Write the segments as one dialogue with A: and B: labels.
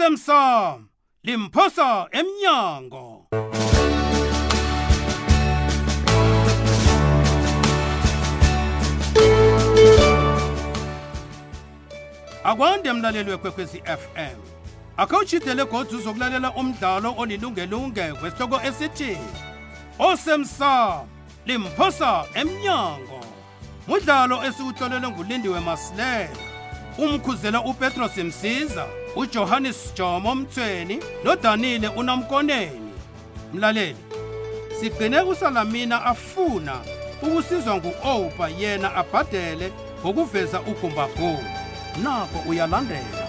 A: esemsamo limphosa emnyango akwande mlaleli wekwekwezi fm akhawutshidele godzi uzokulalela umdlalo olilungelunge kwesihloko esithi osemsamo limphosa emnyango mudlalo esiwuhlolelwe ngulindiwe masilela umkhuzela upetros msiza ujohannes jomo mthweni nodanile unamkoneni mlaleli sigcine kusalamina afuna ukusizwa ngu-opa yena abhadele ngokuveza ugumbagumba nako uyalandela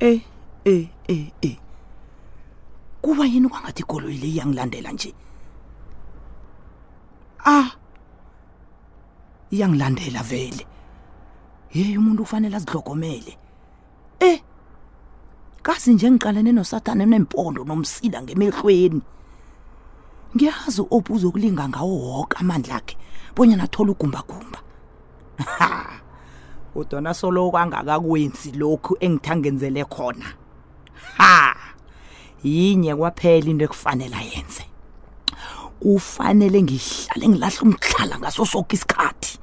B: Eh eh eh eh. Kuba yini kwangathi igoloyi le iyangilandela nje? Ah. Iyangilandela vele. Hey umuntu ufanele azidlokomele. Eh. Kasi nje ngiqalene noSathane nempondo nomsila ngemehlweni. Ngiyazi obuzo kulinga ngawo wonke amandla akhe. Bonyana athola ugumba gumba. Ha. udona solo kwangakakwenzi lokhu engithangenzele khona ha yinye kwaphela into ekufanele ayenze kufanele ngihlale ngilahle umtlhala ngaso sonke isikhathi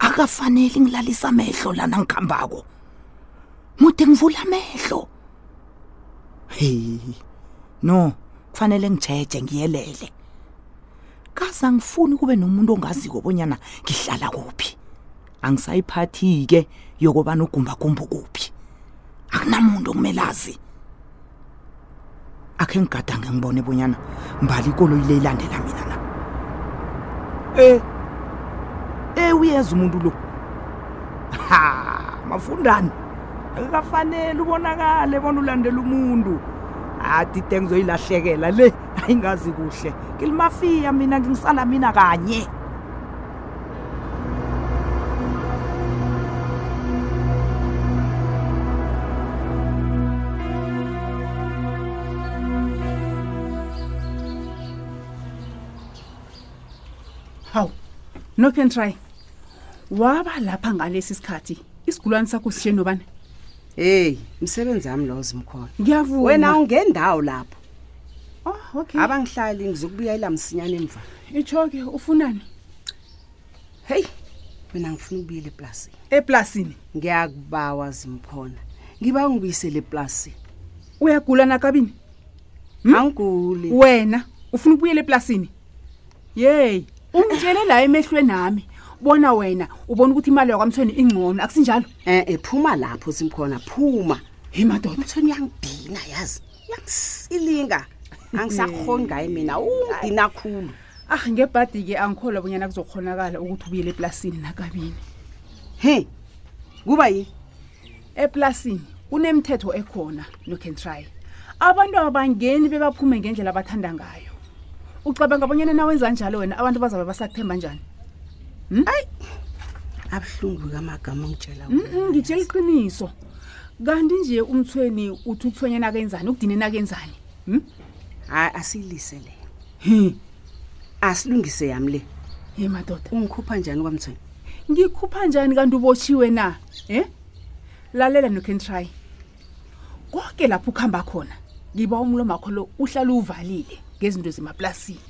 B: akafanele ngilalise amehlo lana ngikhambako mude ngivula amehlo heyi no kufanele ngijeje ngiyelele kaze angifuni kube nomuntu ongaziko bonyana ngihlala kuphi angisayiphathi-ke yokobana ugumbagumba kuphi akunamuntu okumele azi akhe ngigadange ngibone bonyana mbali ikoloyi le ilandela mina na e e uyeza umuntu lo ha mafundani akukafanele ubonakale bona ulandela umuntu adide ngizoyilahlekela le ayingazi kuhle ngilimafiya mina ngingisala mina kanye
C: hawu nophi and try waba lapha ngalesi sikhathi isigulwane sakho sishe nobani
D: heyi msebenzi wami lowo zimkhona
C: ngiyavuma
D: wena ungendawo lapho
C: oh, okay
D: abangihlali ngizokubuyela msinyane emva
C: itsho-ke ufunani
D: heyi mina ngifuna ukubuyela eplasini
C: eplasini
D: ngiyakubawa zimkhona ngiba ungibuyisele eplasini
C: uyagula nakabini
D: angiguli
C: wena ufuna ukubuyela eplasini yeyi ungitshele la emehlweni ami bona wena ubona ukuthi imali yakwamthweni ingcono akusinjalo
D: e-e Eh, phuma lapho zimkhona phuma
C: hey madoda
D: umthweni uyangidina yazi uyangisilinga angisakhoni ngaye mina ungidina khulu
C: ah ngebhadi-ke angikholwa bonyana kuzokhonakala ukuthi ubuyele eplasini nakabini
D: he kuba yini
C: eplasini kunemithetho ekhona nocan try abantu abangeni bebaphume ngendlela abathanda ngayo ucabanga bonyana nawenza njalo wena abantu bazabe basakuthemba njani
D: abuhlungu kamagama ongitshela
C: Mm, mm, ngitshela iqiniso kanti nje umthweni uthi ukuthonyana kenzani ukudinena kenzani Hmm?
D: hayi asiyilise leyo
C: He,
D: asilungise yami le
C: ye madoda
D: ungikhupha njani kwamthweni
C: ngikhupha njani kanti ubotshiwe na em lalela nocan try konke lapho ukuhamba khona ngiba umlomo wakho lo uhlale uvalile ngezinto zemaplasini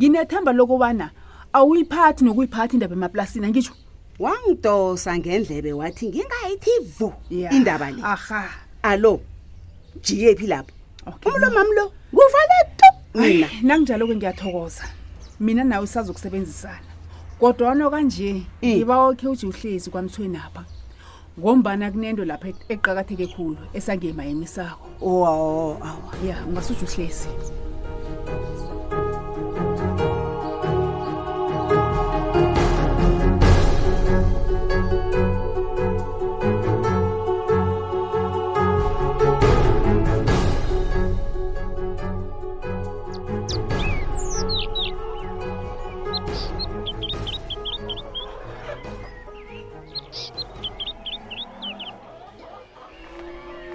C: nginethemba lokubana awuyiphathi nokuyiphathi indaba emaplasini angitsho
D: wangidosa ngendlebe wathi ngingayithi vu
C: Ya.
D: indaba le
C: aha
D: alo jiyephi lapho
C: okay
D: umlomami lo nguvale tu mina
C: Ayi, nanginjalo-ke ngiyathokoza mina nawe sazokusebenzisana kodwana kanje
D: Eh.
C: ngiba okhe uje uhlezi kwamthwenapha ngombana kunento lapha e- eqakatheke khulu esangemayeni sakho
D: Oh, awa, awa.
C: ya ungasuje uhlezi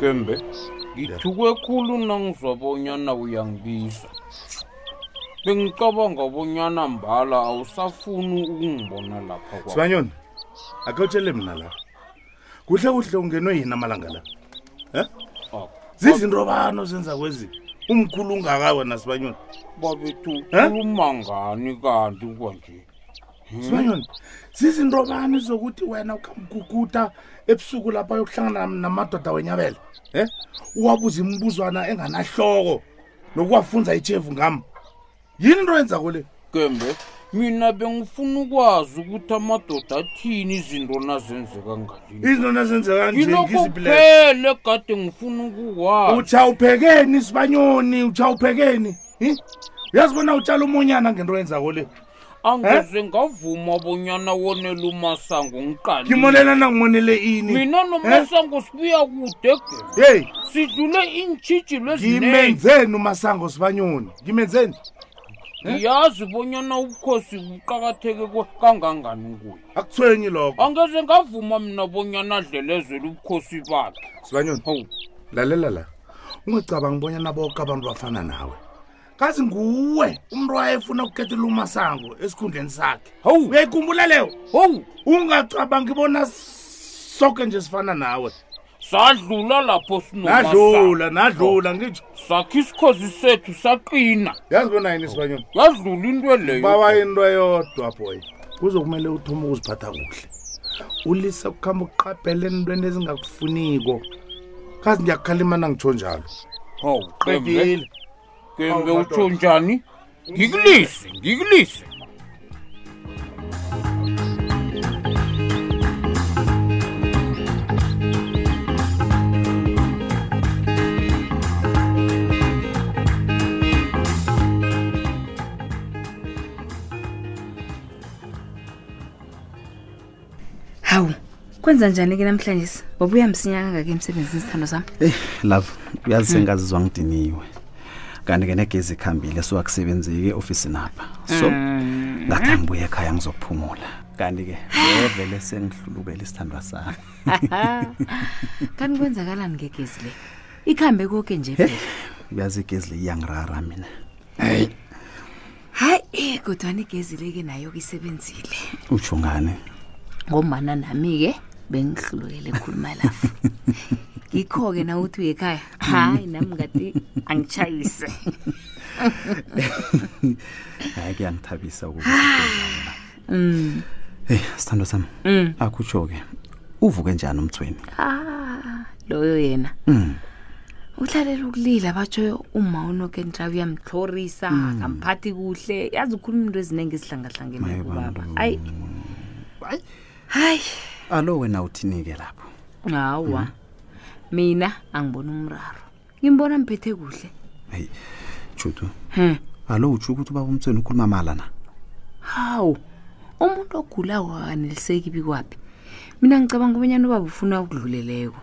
E: gembe ngithuke khulu nangizwabonyana uyangibiza bengicabanga bonyana mbala awusafuni ukungibona lapha kwa
F: sibanyoni akawutshele mna la kuhle kuhle ungenwe yini amalanga la Eh?
E: Akho.
F: zizinto bani ozenza kwezi umkhulu ungakayi wena sibanyoni
E: babethu
F: Eh?
E: khuluma ngani kanti kwanje
F: sibanyoni zizinto bani zokuthi wena ukamguguda ebusuku lapha yokuhlangana namadoda wenyabela um uwabuza imibuzwana enganahloko nokuwafunza ichefu ngam yini into yenza kule
E: gembe mina bengifuna ukwazi ukuthi amadoda athini izinto nazenzeka ngalini
F: izinto nezenzeka nje
E: ngilokho
F: ngiziphilela
E: kuphele kade ngifuna ukuwazi
F: utshawuphekeni sibanyoni utshawuphekeni hi? uyazibona utshala umunyana ngento yenza kole
E: angeze ngavuma bonyana wonela umasango ngiqalile
F: ngimonelana ngimonele ini
E: mina nomasango sibuya kude gembe
F: heyi
E: sidlule iintshijilo ezinengi
F: ngimenzeni umasango sibanyoni ngimenzeni
E: ngiyazi bonyana ubukhosi buqakatheke kwa- kangangani kuye
F: akuthwenyi
G: Oh.
F: lokho
E: angeze ngavuma mina bonyana adlelezele ubukhosi bakhe
F: sibanyoni
E: hawu
F: lalela la ungacabangi bonyana boke abantu bafana nawe kazi nguwe umntu wayefuna ukukhethela umasango esikhundleni sakhe
E: hawu
F: uyayikhumbula leyo
E: hawu
F: ungacabangi bona soke nje sifana nawe
E: sadlula lapho
F: nadlula
E: sinomadlula
F: nadlula ngitsho
E: sakha isikhozi sethu saqina
F: yazibona yini sibanyoni
E: yadlula into leyo
F: baba into eyodwa boy kuzokumele uthoma ukuziphatha kuhle ulise ukuhamba ukuqabhela entweni ezingakufuniko kazi ngiyakukhalimana ngitsho njalo
E: hawu gembe gembe utsho njani ngikulise ngikulise
H: hawu kwenza njani-ke namhlanje wabuya msinya kangake emsebenzini sithando sami
I: eyi love uyazi sengazizwa ngidiniwe kanti-ke negezi ikhambile so akusebenzeki e-ofisini apha so ngathi angibuye ekhaya ngizophumula kanti-ke vele sengihlulukele isithandwa sami
H: kanti kwenzakalani ngegezi le ikhambe koke nje
I: Hey,
H: phela
I: uyazi igezi le iyangirara mina
H: hayi kodwani igezi le-ke nayo-ke isebenzile
I: utsho ngani
H: ngombana nami-ke bengihlulukele khuluma lafu ngikho-ke na uthi uye ekhaya hayi nami ngathi angitshayise
I: hayi kuyangithabisa ukuba eyi sithandwa sami akutsho-ke uvuke njani umthweni
H: ah loyo yena uhlalela ukulila batsho uma unokentrav uyamtlhorisa akamphathi kuhle yazi ukhuluma into eziningi
I: Maye
H: ezihlangahlangene kubaba
I: bantu.
H: hayi hayi
I: alo wena uthini-ke lapho
H: hawa mina angiboni umraro ngimbona mphethe kuhle
I: heyi judu
H: Hmm.
I: alo utsho ukuthi ubaba umthweni ukhuluma mala na
H: hawu umuntu ogulako akaneliseki bikwaphi mina ngicabanga ubanyana ubaba ufuna ukudluleleko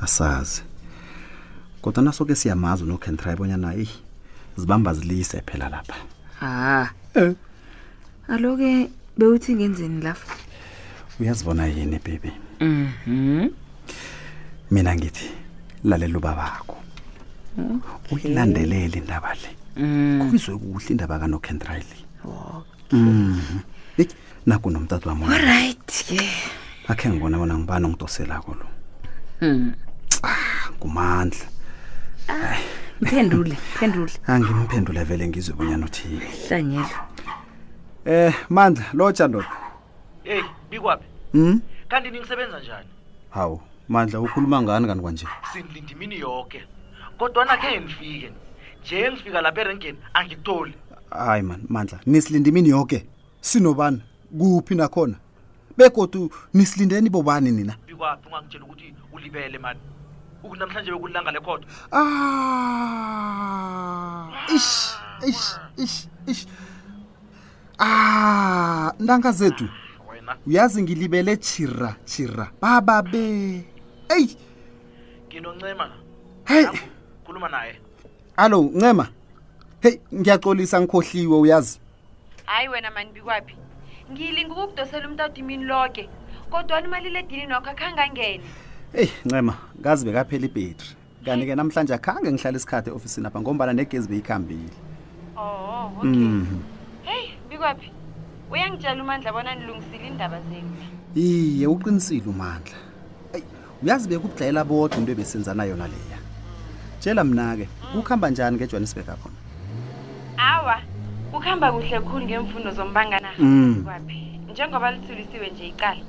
I: asazi kodwa naso-ke siyamazi unokhentra ibonyana eyi zibamba zilise phela lapha
H: ha alo-ke bewuthi ngenzeni lafa
I: uyazibona yini bhebi
H: mhm
I: mina ngithi lalela ubabakho uyilandelele indaba le kubizwe kuhle indaba kanokhentra le Mm-hmm. eyi nakunomtata wam
H: right ke
I: akhe ngibona bona ngibani ongidoselako lo Ah, ngumandla
H: phendule phendule
I: angimphendula vele ngizwe bonyana uthini
H: hlanyela
I: um mandla lotsha ndoda
J: eyi bikwaphi
I: um
F: Hmm?
J: kanti ningisebenza njani
I: hawu mandla ukhuluma ngani kanti kwanje
J: sinilinda imini yoke kodwana khe nifike nje ngifika lapha erenkeni angikutholi
I: hayi mani mandla nisilinde imini yoke sinobani kuphi nakhona begodu nisilindeni bobani nina
J: bikwaphi ungangitshela ukuthi ulibele mani ukunamhlanje bekulilanga lekhodo
I: ah ish ish ish ish ah ntanga zethu
J: wena
I: uyazi ngilibele chira chira bababe eyi
J: nginoncema la
I: heyi
J: khuluma naye
I: alo ncema heyi ngiyaxolisa ngikhohliwe uyazi
K: hayi wena mani bikwaphi ngilinga ukukudosela umtata imini loke kodwani umalile edinini wakho akhangangene
I: eyi ncema ngazi bekaphela ibhetri kanti-ke namhlanje akhange ngihlale isikhathi e-ofisini apha ngombana negezi beyikhambile
K: Oh, okay.
I: Mhm.
K: Hey, bikwaphi? Uyangitshela uMandla bona nilungisile indaba zenu.
I: iye uqinisile umandla Ayi, uyazi bekubudlayela bodwa into ebesenzana yona leya tshela mna-ke kukuhamba njani ngejohannesburg akhona
K: Awa, ukuhamba kuhle khulu ngemfundo zombangana
I: Mm.
K: bikwaphi. Njengoba lithulisiwe nje iqala.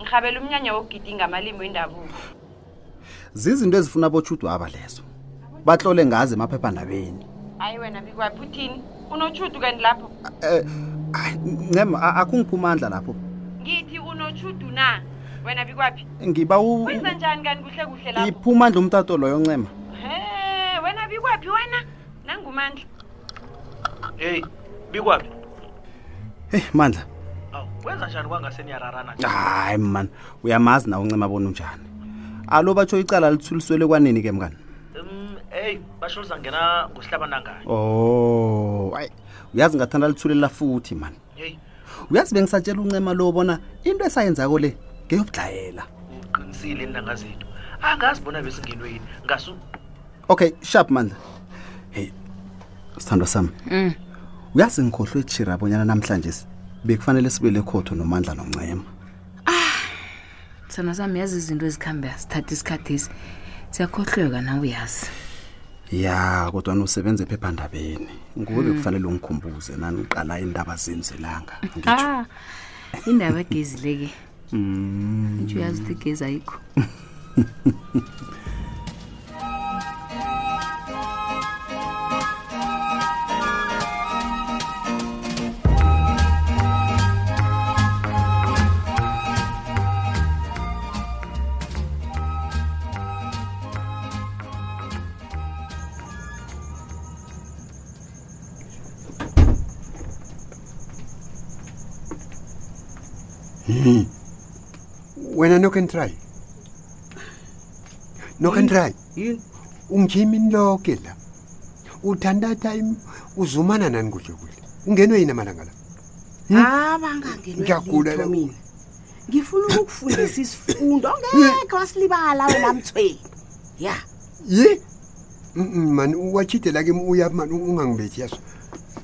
K: Ngihabela umnyanya wokugidinga amalimi wendabuko.
I: zizinto ezifuna botshudwaba lezo batlole ngazo emaphephandabeni
K: Hayi wena bikwaphi uthini? Unochudu kanti lapho?
I: Eh, ncema a- akungiphi umandla lapho
K: Ngithi unochudu na? Wena bikwaphi?
I: ngiba u-
K: Wenza njani kanti kuhle kuhle lapho?
I: iphi umandla umtato loyo ncema
K: He, wena bikwaphi wena? Nangumandla.
J: heyi bikwaphi
I: heyi mandla
J: awu kwenza njani kwangaseniyararana
I: hayi mani uyamazi nawe uncema bona unjani alo batsho icala lithuliselwe kwanini ke mngani
J: um eyi basho lizangena ngosihlabanangani
I: Oh, hayi uyazi ngathanda lithulela futhi man.
J: heyi
I: Uyazi bengisatshela uNcema lo bona into esayenzako le ngeyobudlayela.
J: uqinisile intanga zethu angazi bona besingenwe yini ngasu
I: Okay, sharp man. Hey. Sithandwa sami.
H: Mm.
I: Uyazi ngikhohlwe ejira bonyana namhlanje si- bekufanele sibe lekhotho nomandla noNcema.
H: sana sami yazi izinto ezikhambe azithatha isikhathi esi siyakhohlweka nawe uyazi
I: Ya, kodwa nosebenza ephephandabeni. Nguwe
H: Mm.
I: bekufanele ungikhumbuze nani uqala indaba zenzelanga.
H: Ah, indaba egezi leke
I: Mm.
H: ntsho uyazi ukuthi igezi ayikho
G: Hmm. wena knock and try knock and try
D: yini
G: ungijima inloke la uthanda time uzumana nani kuhle kuhle ungenwe yini amalanga la Hmm? Ngiyagula la.
D: abangangenwa mina ngifuna ukukufundisa isifundo
G: Hmm?
D: ongeke wasilibala wena mthweni ya
G: ye Mm, mm, mani watshidela ke uya mani ungangibethi yaso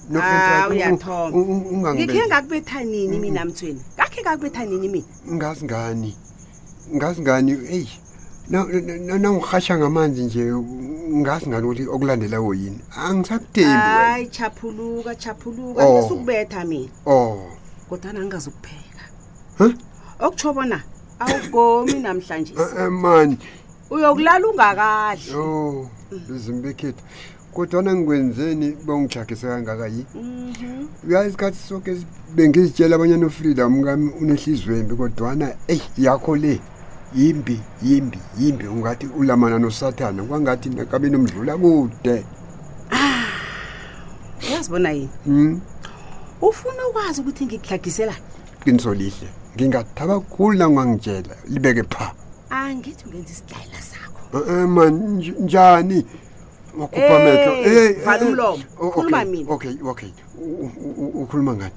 G: Knock and try,
D: Ah,
G: un-
D: uyathoma.
G: un- un-
D: ngikhe
G: ungangibethi
D: ngakubetha nini mina
G: Hmm.
D: mthweni ngakhe ngakubetha nini mina
G: ngazi ngani ngazi ngani eyi nangirhasha ngamanzi nje ngazi ngani ukuthi okulandelayo yini angisakuthembi wena
D: hayi chaphuluka chaphuluka
G: Oh.
D: ngesukubetha mina
G: oh
D: kodwana ngingazukupheka
G: Huh?
D: okutsho bona awugomi namhlanje
G: Eh, eh, mani
D: uyokulala ungakadli
G: o luzimbekhethu kodwana ngikwenzeni bongijagise kangaka yi
D: Mhm.
G: uyayi isikhathi soke si- bengizitshela abanyana ufreedom kami unehliziyweni kodwana eyi yakho le yimbi yimbi yimbi ungathi ulamana nosathane kwangathi nakabe nomdlula kude
D: uyazibona yini
G: Hmm,
D: ufuna ukwazi ukuthi ngikuhlagiselani
G: qiniso lihle ngingathaba khulu nangangitshela libeke pha
D: angithi ungenza isidlayela sakho
G: Eh, eh, man nj- njani wakhupha metlo
D: Eh, vala umlomo. Khuluma mina.
G: okay okay U- u- u- ukhuluma ngani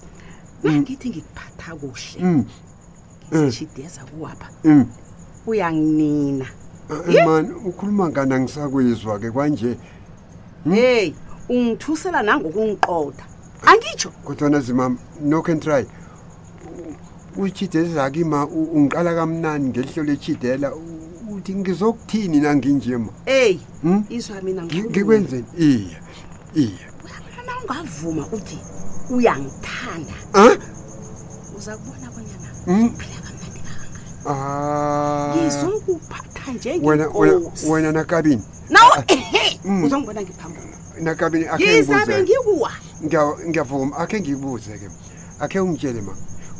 D: nangithi ngikuphatha kuhle
G: Mm. Eh,
D: ngideza kuwapha
G: mm.
D: uyanginina
G: Eh, eh, man ukhuluma ngani angisakuyizwa ke kwanje Mm.
D: heyi ungithusela nangokungiqoda angitsho
G: kodwana zimama knock and try uchidezaki ma u- ungiqala kamnani ngelihlo lechidela u- uthi ngizokuthini nanginjema
D: eyi
G: Hmm?
D: izwa mina
G: Ngi- ngikwenzeni iya iya
D: na ungavuma uthi uyangithanda
G: Ah?
D: uza kubona bonyana
G: Mm. Ah.
D: ngizokuphatha
G: wena wena-
D: njengenkosi
G: wena nakabini
D: nawe ehe uzongibona ngiphambili
G: nakabini Mm. akhe
D: ngizabe
G: ngibuze
D: ngikuwa
G: Ngiya- ngiyavuma akhe ngiyibuze ke akhe ungitshele ma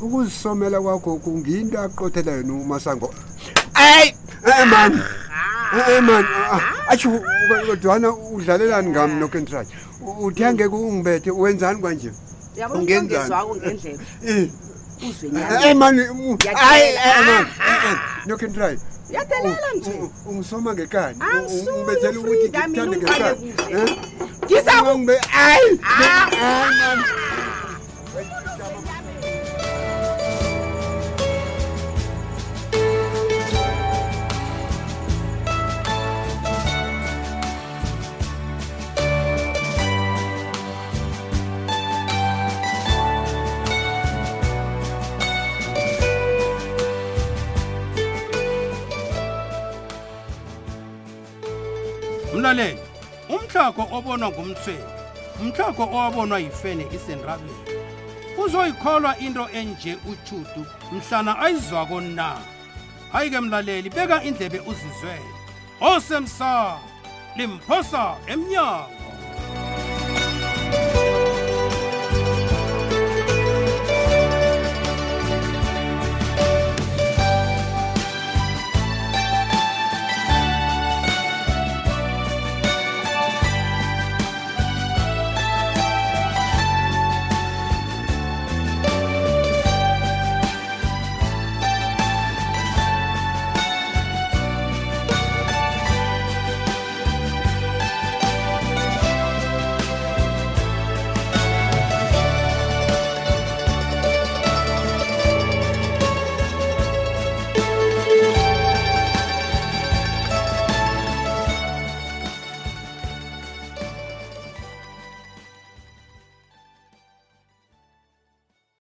G: ukuzisomela kwakho kungiyinto aqothela yena umasango eyi e man e man atsho kodwana udlalelani ngami nokentrayi uthi angeke ungibethe wenzani kwanje
D: yabona
G: Ungenzani?
D: ungezwako ngendlela
G: Eh,
D: uzwe
G: eh, man u- ayi, eh, man nokentrayi
D: yadelela nje
G: Oh, ungisoma ngekani U-
D: Angisoli
G: ungibethela ukuthi
D: uFrida, mina
G: ngikuthande
D: ungibale
G: ngekani ngizakungibe ayi ayi man
A: mlaleli umtlhago obonwa ngumthweni umtlhago owabonwa yifene isenrabeni uzoyikholwa into enje utshutu mhlana ayizwako na hayi ke mlaleli beka indlebe uzizwele osemsa limphosa emnyango